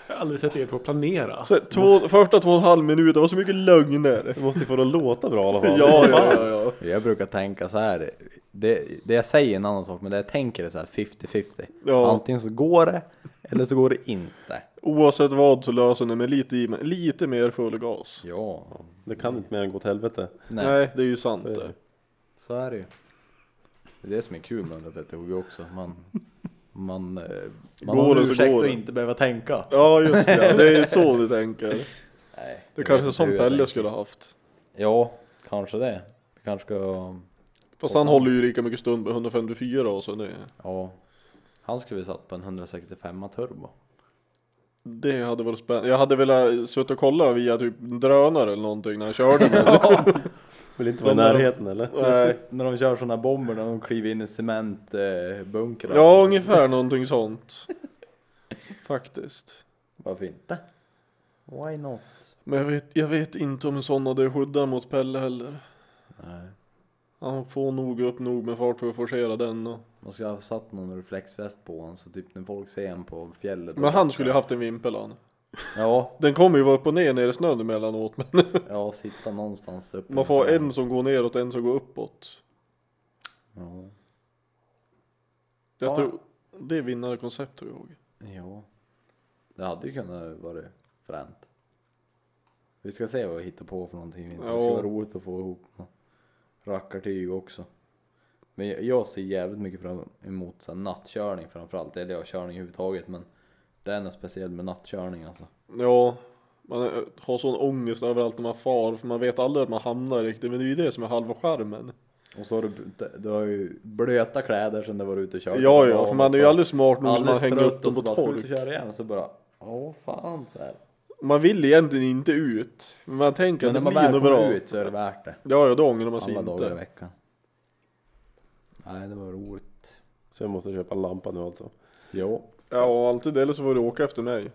Speaker 3: Jag har aldrig sett er två planera.
Speaker 1: Så två, första två och en halv minut, det var så mycket lögner.
Speaker 2: Du måste ju få det att låta bra i alla
Speaker 1: Ja,
Speaker 2: fall.
Speaker 1: ja, ja, ja.
Speaker 5: Jag brukar tänka så här. Det, det jag säger är en annan sak, men det jag tänker är så här 50-50.
Speaker 1: Ja.
Speaker 5: Antingen så går det, eller så går det inte.
Speaker 1: Oavsett vad så löser ni med lite, i- lite mer full gas.
Speaker 5: Ja,
Speaker 2: Det kan inte mer än gå åt helvete.
Speaker 5: nej.
Speaker 1: Nej. det är ju sant
Speaker 2: Så är det.
Speaker 1: det.
Speaker 5: Så är det ju. Det är det som är kul med 137 också. Man, man, eh, man
Speaker 1: Går
Speaker 5: har
Speaker 1: det
Speaker 5: en
Speaker 1: så
Speaker 5: ursäkt
Speaker 1: går
Speaker 5: att
Speaker 1: det.
Speaker 5: inte behöva tänka.
Speaker 1: Ja just det, ja. det är så du tänker.
Speaker 5: Nej,
Speaker 1: Det
Speaker 5: jag
Speaker 1: kanske är
Speaker 5: vet
Speaker 1: som
Speaker 5: inte hur jag
Speaker 1: Pelle
Speaker 5: tänker.
Speaker 1: skulle ha haft.
Speaker 5: Ja, kanske det. Vi kanske ska
Speaker 1: Fast han håller ju lika mycket stund med 154 och så det,
Speaker 5: Ja. Han skulle vi satt på en 165 turbo.
Speaker 1: det hade varit spännande. Jag hade velat sitta och kolla via typ en drönare eller någonting när han körde men
Speaker 2: Vill inte vara i
Speaker 1: Som när de-
Speaker 2: närheten eller?
Speaker 1: nej.
Speaker 5: När de kör sådana bomber när de kliver in i cementbunkrar.
Speaker 1: Ja ungefär någonting sånt. Faktiskt.
Speaker 5: Varför inte? Why not?
Speaker 1: Men jag vet, jag vet inte om en sån hade huddar mot Pelle heller.
Speaker 5: Nej.
Speaker 1: Han får nog upp nog med fart för att forcera den. Och...
Speaker 5: Man skulle ha satt någon reflexväst på honom så typ när folk ser en på fjället.
Speaker 1: Men han skulle ju haft en vimpel han.
Speaker 5: Ja,
Speaker 1: Den kommer ju vara upp och ner nere i snön emellanåt. Men
Speaker 5: ja, sitta någonstans uppe.
Speaker 1: man får en som går neråt och en som går uppåt.
Speaker 5: Ja.
Speaker 1: Jag
Speaker 5: Ja.
Speaker 1: tror det är vinnarkoncept tror jag.
Speaker 5: ja. Det hade ju kunnat vara fränt. Vi ska se vad vi hittar på för någonting. Det skulle
Speaker 1: Ja.
Speaker 5: vara roligt att få ihop något rackartyg också. Men jag- jag ser jävligt mycket fram emot så här, nattkörning framförallt. Eller ja, körning överhuvudtaget. Men det är något speciellt med nattkörning alltså.
Speaker 1: Ja, man eh, har sån ångest överallt när man far för man vet aldrig att man hamnar riktigt. Men det är ju det som är halva skärmen.
Speaker 5: Och så har du, du har ju blöta kläder sen du var ute och körde.
Speaker 1: Ja, ja, för man är ju aldrig smart nog så man
Speaker 5: Alldeles
Speaker 1: hänger
Speaker 5: trött
Speaker 1: upp dem
Speaker 5: och
Speaker 1: på
Speaker 5: så bara ska du ut
Speaker 1: tork.
Speaker 5: och köra igen och så bara Åh fan så här.
Speaker 1: Man vill egentligen inte ut. Men man tänker
Speaker 5: Men
Speaker 1: att
Speaker 5: när
Speaker 1: det
Speaker 5: man
Speaker 1: blir
Speaker 5: väl
Speaker 1: nog bra.
Speaker 5: kommer ut så är det värt det.
Speaker 1: Ja, ja, då ångrar man sig
Speaker 5: Alla dagar i
Speaker 1: inte.
Speaker 5: veckan. Nej det var roligt.
Speaker 2: Så jag måste köpa en lampa nu alltså.
Speaker 5: Jo.
Speaker 1: Ja, alltid. Eller så får du åka efter mig.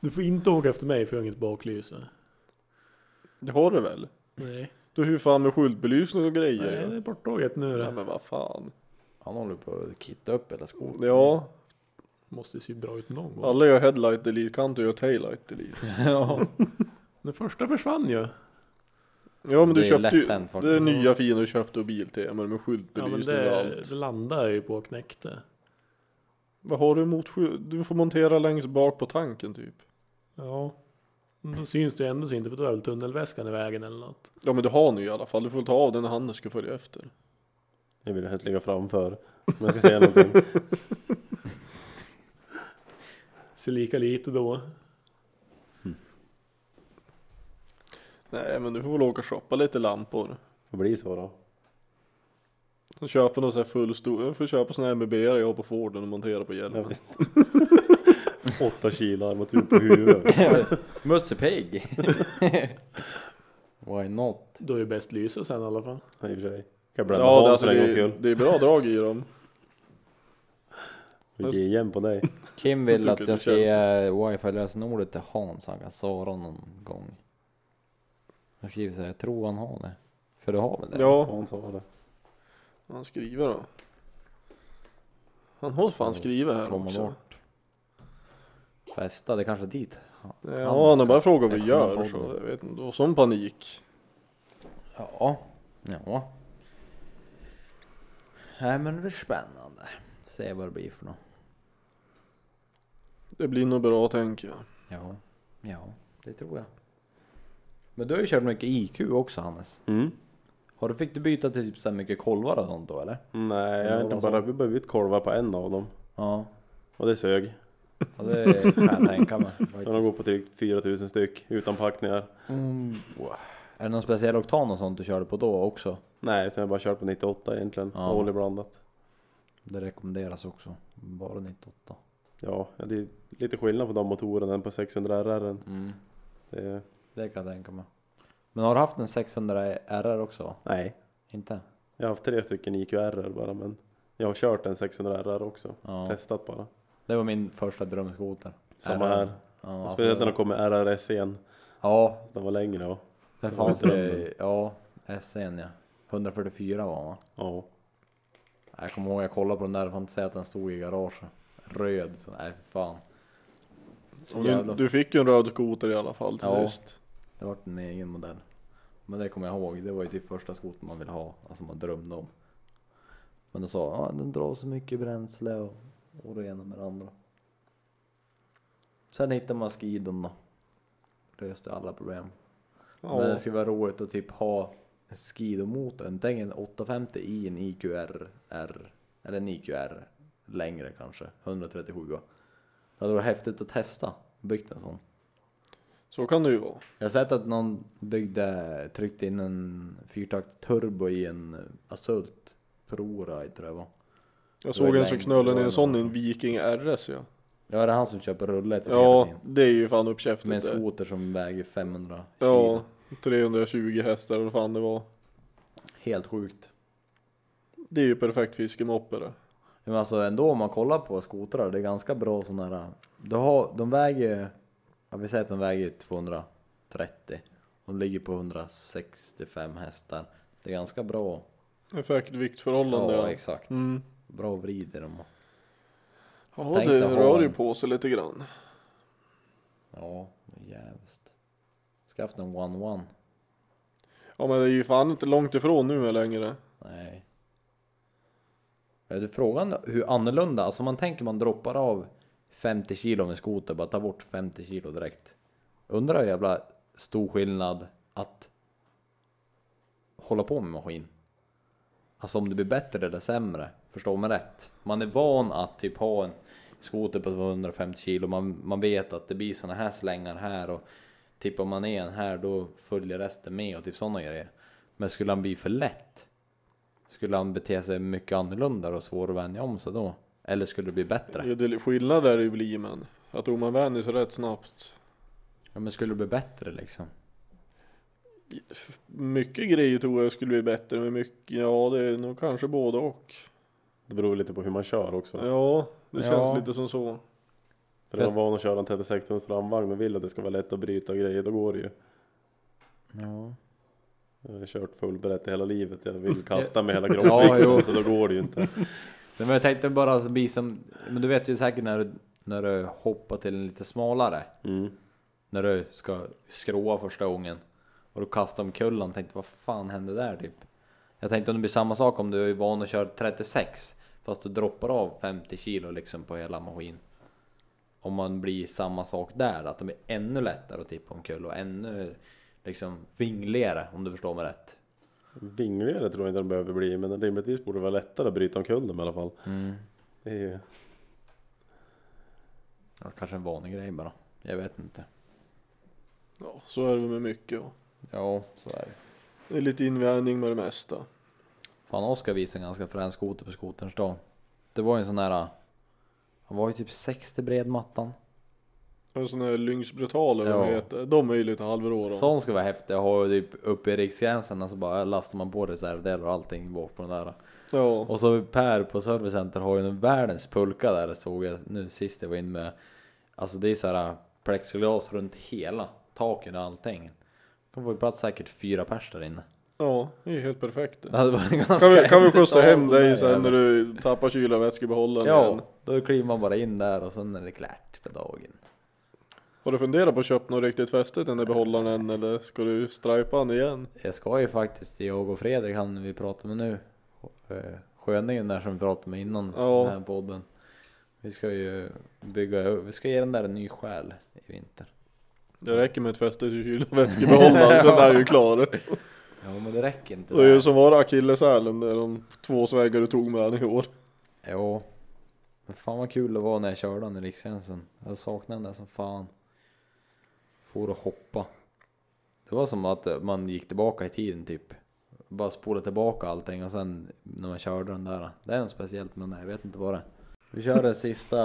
Speaker 3: Du får inte åka efter mig för jag har inget baklyse.
Speaker 1: Det har du väl?
Speaker 3: Nej.
Speaker 1: Du hur fan med skyltbelysning och
Speaker 3: Nej,
Speaker 1: grejer?
Speaker 3: det
Speaker 1: ja.
Speaker 3: är borttaget nu
Speaker 1: Ja,
Speaker 3: det.
Speaker 1: men vad fan.
Speaker 5: Han håller på att kitta upp hela skolan.
Speaker 1: Ja,
Speaker 3: Måste se bra ut någon gång.
Speaker 1: alla gör headlight delete, kan inte göra taillight delete.
Speaker 5: ja.
Speaker 3: Den första försvann ju.
Speaker 1: Ja men
Speaker 5: Det
Speaker 1: du
Speaker 5: är ju
Speaker 1: köpte ju,
Speaker 5: lätt hänt
Speaker 1: det är
Speaker 5: faktiskt.
Speaker 1: nya fina du köpte och bil till, men med
Speaker 3: Ja, men
Speaker 1: skyltbelysning och
Speaker 3: det,
Speaker 1: allt.
Speaker 3: det landade ju på och knäckte.
Speaker 1: Vad har du emot skylt? Du får montera längst bak på tanken typ.
Speaker 3: Ja. Men Då syns det ju ändå så inte för då är väl tunnelväskan i vägen eller något.
Speaker 1: Ja men du har nu i alla fall, du får ta av den när han ska följa efter.
Speaker 2: Jag vill helst ligga framför. Om jag ska säga någonting.
Speaker 3: Ser lika lite då.
Speaker 1: Nej men du får väl åka och shoppa lite lampor.
Speaker 2: Det blir så då.
Speaker 1: Så köper någon sån här full stor, jag får köpa sån här MBB jag har på Forden och montera på
Speaker 2: Ja,
Speaker 1: hjälmen.
Speaker 2: visst. Åtta kilo armatur på huvudet.
Speaker 5: Musse Pig. Why not?
Speaker 3: Då är ju bäst lyse sen i alla fall.
Speaker 2: Ja, I och för sig. Kan jag blända
Speaker 1: Ja,
Speaker 2: ja,
Speaker 1: det,
Speaker 2: Hans
Speaker 1: alltså,
Speaker 2: för en gångs
Speaker 1: det,
Speaker 2: skull.
Speaker 1: är, det är bra drag i dem.
Speaker 2: Och ge igen på dig.
Speaker 5: Kim
Speaker 1: Jag
Speaker 5: vill
Speaker 1: tycker
Speaker 5: att
Speaker 1: det
Speaker 5: jag ska
Speaker 1: känns
Speaker 5: ge wifi-lösenordet till Hans så han kan svara någon gång. Jag skriver så här, jag tror han har det. För du har väl det?
Speaker 1: Ja,
Speaker 2: Hans har det.
Speaker 1: han skriver då. Han har fan skrivit här
Speaker 5: Kommer
Speaker 1: också.
Speaker 5: bort. Festa, det är kanske dit.
Speaker 1: Ja, han har
Speaker 5: Eh, ska-
Speaker 1: bara frågat vad vi
Speaker 5: efter
Speaker 1: gör
Speaker 5: den
Speaker 1: så
Speaker 5: podden.
Speaker 1: jag vet inte, och sån panik.
Speaker 5: Ja. Ja. Nej men det blir spännande. Se vad det blir för något.
Speaker 1: Det blir nog bra tänker jag.
Speaker 5: Ja. Ja, det tror jag. Men du har ju kört mycket IQ också Hannes.
Speaker 2: Mm.
Speaker 5: Har du, fick du byta till typ så här mycket kolvar och sånt då eller?
Speaker 2: Nej, jag har inte bara, vi bara bytt kolvar på en av dem.
Speaker 5: Ja.
Speaker 2: Och det sög.
Speaker 5: ja det kan jag tänka mig.
Speaker 2: De
Speaker 5: faktiskt.
Speaker 2: går på drygt 4000 styck utan packningar.
Speaker 5: Mm. Är det någon speciell oktan och sånt du körde på då också?
Speaker 2: Nej, utan jag har bara kört på 98 egentligen.
Speaker 5: Ja.
Speaker 2: Olje blandat.
Speaker 5: Det rekommenderas också. Bara 98.
Speaker 2: Ja, det är lite skillnad på de motorerna än på 600 RR.
Speaker 5: Mm.
Speaker 2: Det är,
Speaker 5: Det kan jag tänka mig. Men har du haft en 600 RR också? va?
Speaker 2: nej,
Speaker 5: Inte?
Speaker 2: jag har haft tre stycken IQR bara men jag har kört en 600 RR också.
Speaker 5: Ja.
Speaker 2: Testat bara.
Speaker 5: Det var min första drömskoter.
Speaker 2: Samma
Speaker 5: RR.
Speaker 2: här.
Speaker 5: Ja, alltså,
Speaker 2: Speciellt när de kom med RRS igen.
Speaker 5: ja,
Speaker 2: Den var längre och
Speaker 5: det
Speaker 2: var
Speaker 5: fanns
Speaker 2: drömmen.
Speaker 5: det. Ja, SN ja. 144 var han va?
Speaker 2: ja.
Speaker 5: Jag kommer ihåg jag kollade på den där, jag får inte säga att den stod i garaget. Röd, så nej för fan. Så
Speaker 1: Och Du,
Speaker 5: jävla...
Speaker 1: du fick ju en röd skoter i alla fall till
Speaker 5: Ja.
Speaker 1: sist.
Speaker 5: Det var en egen modell. Men det kommer jag ihåg, det var ju typ första skotern man ville ha, alltså man drömde om. Men de sa, ja den drar så mycket bränsle och, och det ena med det andra. Sen hittade man skidon då. Löste alla problem.
Speaker 1: Ja.
Speaker 5: Men det skulle vara roligt att typ ha en skidomotor. Tänk en 850 i en IQR, R, eller en IQR längre kanske, 137. Det hade varit häftigt att testa, byggt en sån.
Speaker 1: Så kan det ju vara.
Speaker 5: Jag har sett att någon byggde, tryckte in en fyrtakt turbo i en eh, Assault Proride tror jag det var.
Speaker 1: Jag såg en som
Speaker 5: längd,
Speaker 1: knöllade
Speaker 5: det
Speaker 1: ner
Speaker 5: var
Speaker 1: en sån i en
Speaker 5: någon.
Speaker 1: Viking RS ja.
Speaker 5: Ja, det är han som köper rulle till
Speaker 1: Ja,
Speaker 5: hela tiden.
Speaker 1: det är ju fan
Speaker 5: Med en
Speaker 1: uppkäftigt det.
Speaker 5: skoter som väger 500 kilo.
Speaker 1: Ja, 320 hästar eller vad fan det var.
Speaker 5: Helt sjukt.
Speaker 1: Det är ju perfekt fiskemoppe det.
Speaker 5: Men alltså ändå om man kollar på skotrar, det är ganska bra sådana här. Du har, de väger ja, vi säger att den väger 230. Hon ligger på 165 hästar. Det är ganska bra.
Speaker 1: Effekt, viktförhållande.
Speaker 5: Ja,
Speaker 1: Ja,
Speaker 5: exakt.
Speaker 1: mm.
Speaker 5: Bra vrider de. och-
Speaker 1: ja
Speaker 5: Tänk
Speaker 1: det
Speaker 5: dig
Speaker 1: rör ju
Speaker 5: hoven.
Speaker 1: på sig lite grann.
Speaker 5: Ja, jävligt. Ska haft en one-one.
Speaker 1: Ja men det är ju fan inte långt ifrån nu längre.
Speaker 5: Nej. Är du frågan hur annorlunda? Alltså man tänker man droppar av 50 kilo med skoter, bara tar bort 50 kilo direkt. Undrar hur jävla stor skillnad att hålla på med maskin. Alltså om det blir bättre eller sämre, förstå mig rätt. Man är van att typ ha en skoter på 250 kilo, man, man vet att det blir såna här slängar här och tippar man ner en här då följer resten med och typ sådana grejer. Men skulle han bli för lätt? Skulle han bete sig mycket annorlunda och svår att vänja om sig då? Eller skulle det bli bättre?
Speaker 1: Ja, det är skillnad där det ju blir men. Jag tror man vänjer sig rätt snabbt.
Speaker 5: Ja men skulle det bli bättre liksom?
Speaker 1: Mycket grejer tror jag skulle bli bättre men mycket, ja det är nog kanske både och.
Speaker 2: Det beror lite på hur man kör också.
Speaker 1: Ja, det känns
Speaker 5: Ja.
Speaker 1: lite som så.
Speaker 2: För är man van att köra en 36 tums framvagn och vill att det ska vara lätt att bryta och grejer, då går det ju.
Speaker 5: Ja.
Speaker 2: Jag har kört fullbrett i hela livet, jag vill kasta med hela kroppsvikten
Speaker 5: jo.
Speaker 2: så då går det ju inte.
Speaker 5: Men jag tänkte bara alltså, bli som, men du vet ju säkert när du, när du hoppar till en lite smalare.
Speaker 2: Mm.
Speaker 5: När du ska skråa första gången. Och du kastar om kullen, tänkte vad fan hände där typ? Jag tänkte om det blir samma sak om du är van att köra 36 fast du droppar av 50 kilo liksom på hela maskin. Om man blir samma sak där, att det blir ännu lättare att tippa omkull och ännu liksom vingligare om du förstår mig rätt.
Speaker 2: Vingligare tror jag inte de behöver bli, men rimligtvis borde det vara lättare att bryta omkull dem i alla fall. Det är ju...
Speaker 5: Det var kanske en vanlig grej bara. Jag vet inte.
Speaker 1: Ja, så är det väl med mycket. ja.
Speaker 5: Ja, så är det.
Speaker 1: Det är lite invänjning med det mesta.
Speaker 5: Fan, Oskar visade en ganska frän skoter på skoterns dag. Det var ju en sån där... Han var ju typ 60 bred mattan.
Speaker 1: En sån här Lynx Brutal eller vad
Speaker 5: Ja.
Speaker 1: de heter. De är ju lite halvrå de.
Speaker 5: Sån ska vara häftig. Jag har ju typ uppe i riksgränsen och så bara lastar man på reservdelar och allting bort på den där.
Speaker 1: Ja.
Speaker 5: Och så Per på servicecenter har ju en världens pulka där såg jag nu sist jag var inne med. Alltså det är så här plexiglas runt hela taken och allting. De får ju plats säkert fyra pers där inne.
Speaker 1: ja, det är ju helt perfekt det.
Speaker 5: Det hade varit ganska
Speaker 1: Kan vi, kan vi
Speaker 5: häftigt
Speaker 1: skjutsa
Speaker 5: att ha en
Speaker 1: hem
Speaker 5: sån
Speaker 1: dig
Speaker 5: där
Speaker 1: sen
Speaker 5: jävel.
Speaker 1: när du tappar kyla och vätskebehållaren igen?
Speaker 5: Ja, då kliver man bara in där och sen är det klart för dagen.
Speaker 1: Har du funderat på att köpa något riktigt fäste till den där behållaren än, eller ska du stripa den igen?
Speaker 5: Jag ska ju faktiskt, jag och Fredrik, han vi pratar med nu, eh, sköningen där som vi pratade med innan
Speaker 1: Ja.
Speaker 5: den här podden. Vi ska ju bygga, vi ska ge den där en ny själ i vinter.
Speaker 1: Det räcker med ett fäste till kyla och vätskebehållaren sen är du ju klar.
Speaker 5: Ja men det räcker inte.
Speaker 1: Det är
Speaker 5: där.
Speaker 1: ju som var det akilleshälen, det är de två svägar du tog med den i år.
Speaker 5: Jo. Men fan vad kul det var när jag körde den i Riksgränsen. Jag saknade den där som fan. For och hoppa. Det var som att eh, man gick tillbaka i tiden typ. Bara spola tillbaka allting och sen när man körde den där. Det är något speciellt men jag vet inte vad det är.
Speaker 6: Vi kör det sista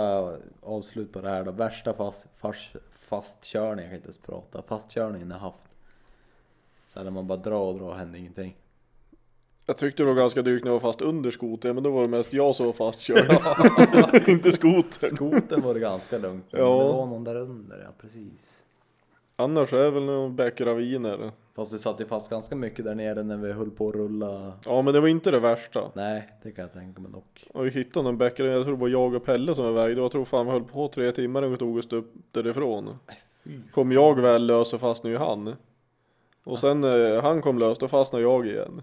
Speaker 6: avslut på det här då. Värsta fast, fast, fastkörning, jag kan inte ens prata. Fastkörningen jag haft.
Speaker 5: Så här när man bara drar och drar och händer ingenting.
Speaker 1: Jag tyckte det var ganska drygt när jag var fast under skotern, men då var det mest jag som var fastkörd. Inte skotern.
Speaker 5: Skoten var det ganska lugnt. men
Speaker 1: Ja.
Speaker 5: Det var någon där under ja, precis.
Speaker 1: Annars är det väl någon bäckraviner.
Speaker 5: Fast du satt ju fast ganska mycket där nere när vi höll på att rulla.
Speaker 1: Ja men det var inte det värsta.
Speaker 5: Nej, det kan jag tänka mig dock.
Speaker 1: Och vi hittade någon bäckravin, jag tror det var jag och Pelle som var iväg. Då jag tror fan vi höll på tre timmar innan vi tog oss upp därifrån. Kom jag väl lös så fastnade ju han. Och sen eh, han kom lös, då fastnade jag igen.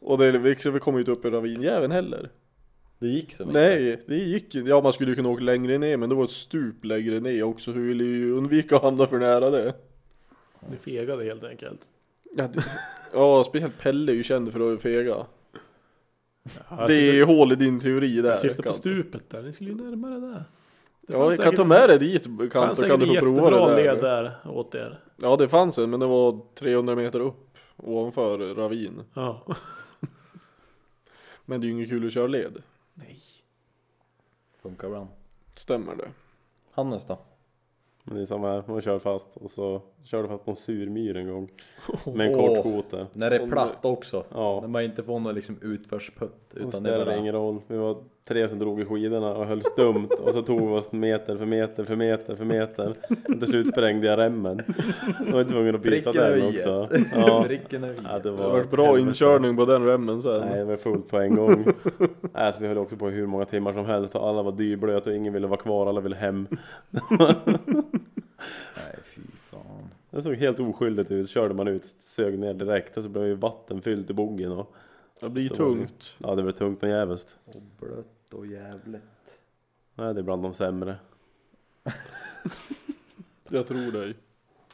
Speaker 1: Och det, vi, så vi kom ju inte upp i ravinjäveln heller.
Speaker 5: Det gick som
Speaker 1: Nej, det gick inte. Ja, man skulle ju kunna åka längre ner, men det var ett stup längre ner också, så vi ville ju undvika att hamna för nära det.
Speaker 3: Ni fegade helt enkelt.
Speaker 1: Ja, det... ja speciellt Pelle är ju känd för att fega.
Speaker 3: Ja,
Speaker 1: Det är
Speaker 3: jag
Speaker 1: hål i din teori där.
Speaker 3: syftar, syftar på
Speaker 1: Kant.
Speaker 3: stupet där, ni skulle ju närmare där. Det
Speaker 1: Ja,
Speaker 3: fanns
Speaker 1: jag kan
Speaker 3: säkert-
Speaker 1: ta med dig dit
Speaker 3: Det
Speaker 1: Kant,
Speaker 3: fanns
Speaker 1: så kan
Speaker 3: säkert
Speaker 1: du få prova
Speaker 3: jättebra
Speaker 1: det där.
Speaker 3: led där åt er.
Speaker 1: Ja, det fanns en, men det var 300 meter upp ovanför ravin.
Speaker 3: Ja.
Speaker 1: Men det är ju inget kul att köra led.
Speaker 3: Nej.
Speaker 5: Funkar ibland.
Speaker 1: Stämmer det?
Speaker 5: Hannes då?
Speaker 2: Men det är samma här, man kör fast och så körde fast på en surmyr en gång. Med en kort
Speaker 5: Åh.
Speaker 2: skoter.
Speaker 5: När det är platt också.
Speaker 2: Ja,
Speaker 5: När man inte får någon liksom utförsputt.
Speaker 2: då
Speaker 5: Utan det är
Speaker 2: spelade det
Speaker 5: bara...
Speaker 2: ingen roll. Vi var tre som drog i skidorna och höll stumt och så tog vi oss meter för meter för meter för meter. Och till slut sprängde jag remmen. Då var jag tvungen att byta
Speaker 5: Pricken över
Speaker 2: den
Speaker 5: i.
Speaker 2: också. Ja.
Speaker 5: Pricken över i.
Speaker 2: Ja, det
Speaker 1: Det har
Speaker 2: var
Speaker 1: varit bra
Speaker 2: helvete.
Speaker 1: inkörning på den remmen sen.
Speaker 2: Nej, det var fullt på en gång. Nej, så vi höll också på hur många timmar som helst och alla var dyblöta och ingen ville vara kvar, alla ville hem.
Speaker 5: Nej fy fan.
Speaker 2: Det såg helt oskyldigt ut, körde man ut, sög ner direkt och så blev ju vatten fyllt i boggen och
Speaker 1: Det blir
Speaker 2: Så var det.
Speaker 1: tungt.
Speaker 2: ja, det var tungt och jävligt.
Speaker 5: Och blött och jävligt.
Speaker 2: Nej, det är bland de sämre.
Speaker 1: Jag tror dig.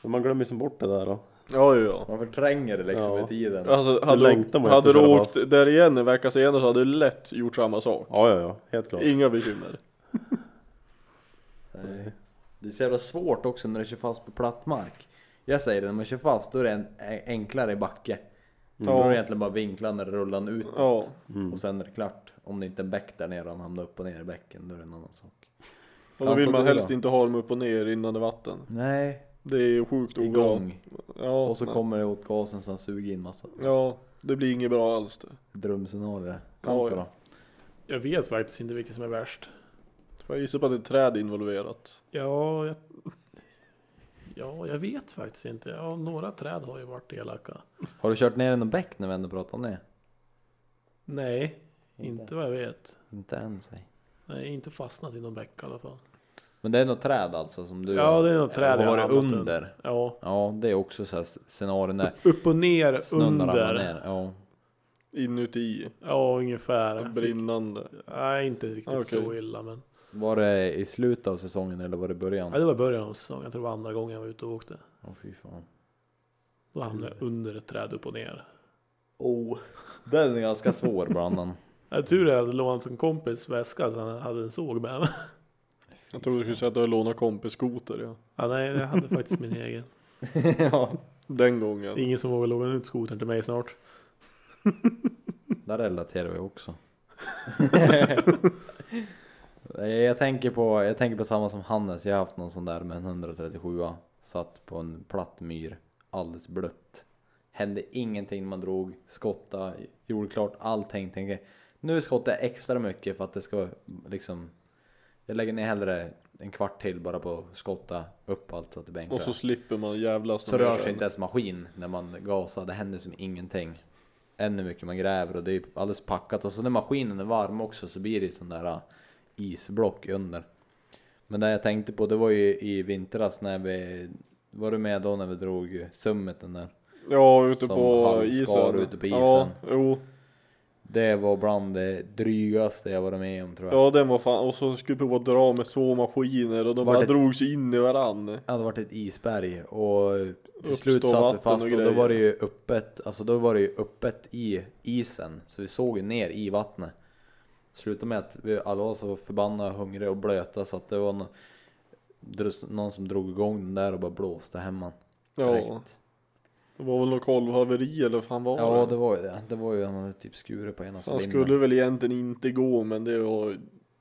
Speaker 2: Men man glömmer ju som bort det där då.
Speaker 1: Ja, ja, ja.
Speaker 5: Man förtränger det liksom
Speaker 2: Ja.
Speaker 5: i tiden.
Speaker 1: Alltså, hade du,
Speaker 2: längtar man ju
Speaker 1: hade
Speaker 2: efter
Speaker 1: du
Speaker 2: att köra
Speaker 1: åkt där igen en vecka senare så hade du lätt gjort samma sak.
Speaker 2: Ja, ja, ja, helt klart.
Speaker 1: Inga bekymmer.
Speaker 5: Nej. Det är så jävla svårt också när du kör fast på platt mark. Jag säger det, när man kör fast då är det en, enklare i backe. Då är det egentligen bara vinkla när rullan ut
Speaker 1: Ja.
Speaker 5: och sen är det klart. Om det inte är en bäck där nere och han hamnar upp och ner i bäcken, då är det en annan sak.
Speaker 1: Och då vill
Speaker 5: Anton,
Speaker 1: man
Speaker 5: du
Speaker 1: helst
Speaker 5: då?
Speaker 1: inte ha dem upp och ner rinnande vatten.
Speaker 5: Nej,
Speaker 1: Det är ju sjukt obra.
Speaker 5: igång.
Speaker 1: Ja,
Speaker 5: Och så
Speaker 1: nej.
Speaker 5: kommer det åt gasen så han suger in massa.
Speaker 1: Ja, det blir inget bra alls det.
Speaker 5: Drömscenario.
Speaker 1: Ja,
Speaker 5: Kanto
Speaker 1: ja.
Speaker 5: då?
Speaker 3: Jag vet faktiskt inte vilket som är värst.
Speaker 1: Får jag gissa på att det är träd involverat?
Speaker 3: Ja, jag... Ja, jag vet faktiskt inte. Ja, några träd har ju varit elaka.
Speaker 5: Har du kört ner i någon bäck när vi ändå pratar om det?
Speaker 3: Nej, inte vad jag vet.
Speaker 5: Inte än sig.
Speaker 3: Nej, inte fastnat i någon bäck i alla fall.
Speaker 5: Men det är något träd alltså som du
Speaker 3: Ja, det är något träd
Speaker 5: har
Speaker 3: jag har
Speaker 5: varit
Speaker 3: hamnat
Speaker 5: under?
Speaker 3: Ja,
Speaker 5: Ja, det är också så här scenarion där
Speaker 3: upp och ner,
Speaker 5: snön ramlar
Speaker 3: under.
Speaker 5: ner. Ja.
Speaker 1: Inuti?
Speaker 3: Ja, ungefär.
Speaker 1: Brinnande?
Speaker 3: Nej, inte riktigt
Speaker 1: Okej.
Speaker 3: så illa men.
Speaker 5: Var det i slutet av säsongen eller var det i början?
Speaker 3: Ja, det var i början av säsongen. Jag tror det var andra gången jag var ute och åkte.
Speaker 5: Åh fy fan.
Speaker 3: Då hamnade jag under ett träd upp och ner.
Speaker 5: Oh, den är ganska svår bland annat.
Speaker 3: Jag tur jag hade lånat en kompis väska så han hade en såg med mig.
Speaker 1: Jag trodde du skulle säga att du hade lånat kompisskoter ja.
Speaker 3: Ja, nej, jag hade faktiskt min egen.
Speaker 5: ja,
Speaker 1: Den
Speaker 3: Det
Speaker 1: gången.
Speaker 3: är Ingen som vågar låna ut skotern till mig snart.
Speaker 5: där relaterar vi också. Nej, jag, tänker på, jag tänker på samma som Hannes, jag har haft någon sån där med en 137 Satt på en platt myr, alldeles blött. Hände ingenting när man drog, skotta, gjorde klart allting. Tänker, nu skottar jag extra mycket för att det ska liksom... Jag lägger ner hellre en kvart till bara på att skotta upp allt så att det blir
Speaker 1: Och
Speaker 5: enklare.
Speaker 1: så slipper man jävlas
Speaker 5: Så
Speaker 1: någon mer
Speaker 5: rör sig
Speaker 1: sen.
Speaker 5: inte ens maskin när man gasar, det händer som ingenting. Ännu mycket man gräver och det är alldeles packat. Och så när maskinen är varm också så blir det sån där ah, isblock under. Men det jag tänkte på det var ju i vintras när vi... Var du med då när vi drog summiten där?
Speaker 1: Ja, ute
Speaker 5: Som
Speaker 1: på
Speaker 5: halvskar
Speaker 1: isen.
Speaker 5: ute på
Speaker 1: Ja,
Speaker 5: isen.
Speaker 1: jo.
Speaker 5: Det var bland det drygaste jag varit med om tror jag.
Speaker 1: Ja den var fan, och så skulle vi prova att dra med såmaskiner och de
Speaker 5: Var
Speaker 1: bara
Speaker 5: det-
Speaker 1: drogs in i varann.
Speaker 5: Det hade varit ett isberg och till
Speaker 1: Uppstod
Speaker 5: slut satt vi
Speaker 1: vatten
Speaker 5: fast
Speaker 1: och
Speaker 5: och, då
Speaker 1: grejer.
Speaker 5: var det ju öppet, alltså då var det ju öppet i isen. Så vi såg ju ner i vattnet. Slutade med att vi alla var så förbannade, hungriga och blöta så att det var någon, någon som drog igång den där och bara blåste hemma.
Speaker 1: Ja. Det var väl något kolvhaveri eller vad fan var
Speaker 5: ja,
Speaker 1: det?
Speaker 5: det var ju det. Det var ju han hade typ skurit på ena
Speaker 1: Han
Speaker 5: cylinder.
Speaker 1: skulle väl egentligen inte gå men det var...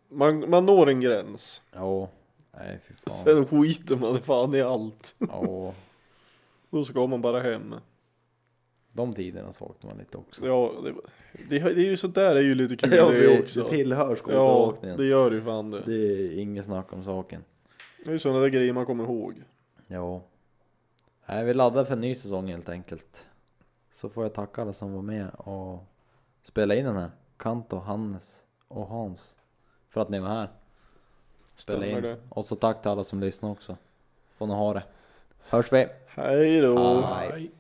Speaker 1: Man, man når en gräns.
Speaker 5: Ja. Nej fy fan.
Speaker 1: Sen skiter man fan i allt.
Speaker 5: Ja.
Speaker 1: Då ska man bara hem.
Speaker 5: De tiderna saknar man lite också.
Speaker 1: Ja, det, det, det är ju sånt där är ju lite kul
Speaker 5: Ja,
Speaker 1: det också.
Speaker 5: det tillhör
Speaker 1: ja,
Speaker 5: skoteråkningen.
Speaker 1: det gör ju fan det.
Speaker 5: det är inget snack om saken.
Speaker 1: Det är ju sådana där grejer man kommer ihåg.
Speaker 5: Ja. Nej, vi laddar för en ny säsong helt enkelt. Så får jag tacka alla som var med och spela in den här. Kanto, Hannes och Hans. För att ni var här. Spela
Speaker 1: Stämmer
Speaker 5: in.
Speaker 1: det.
Speaker 5: Och så tack till alla som lyssnar också. Får ni ha det. Hörs vi!
Speaker 1: Hej då!
Speaker 5: Hej.
Speaker 3: Nej.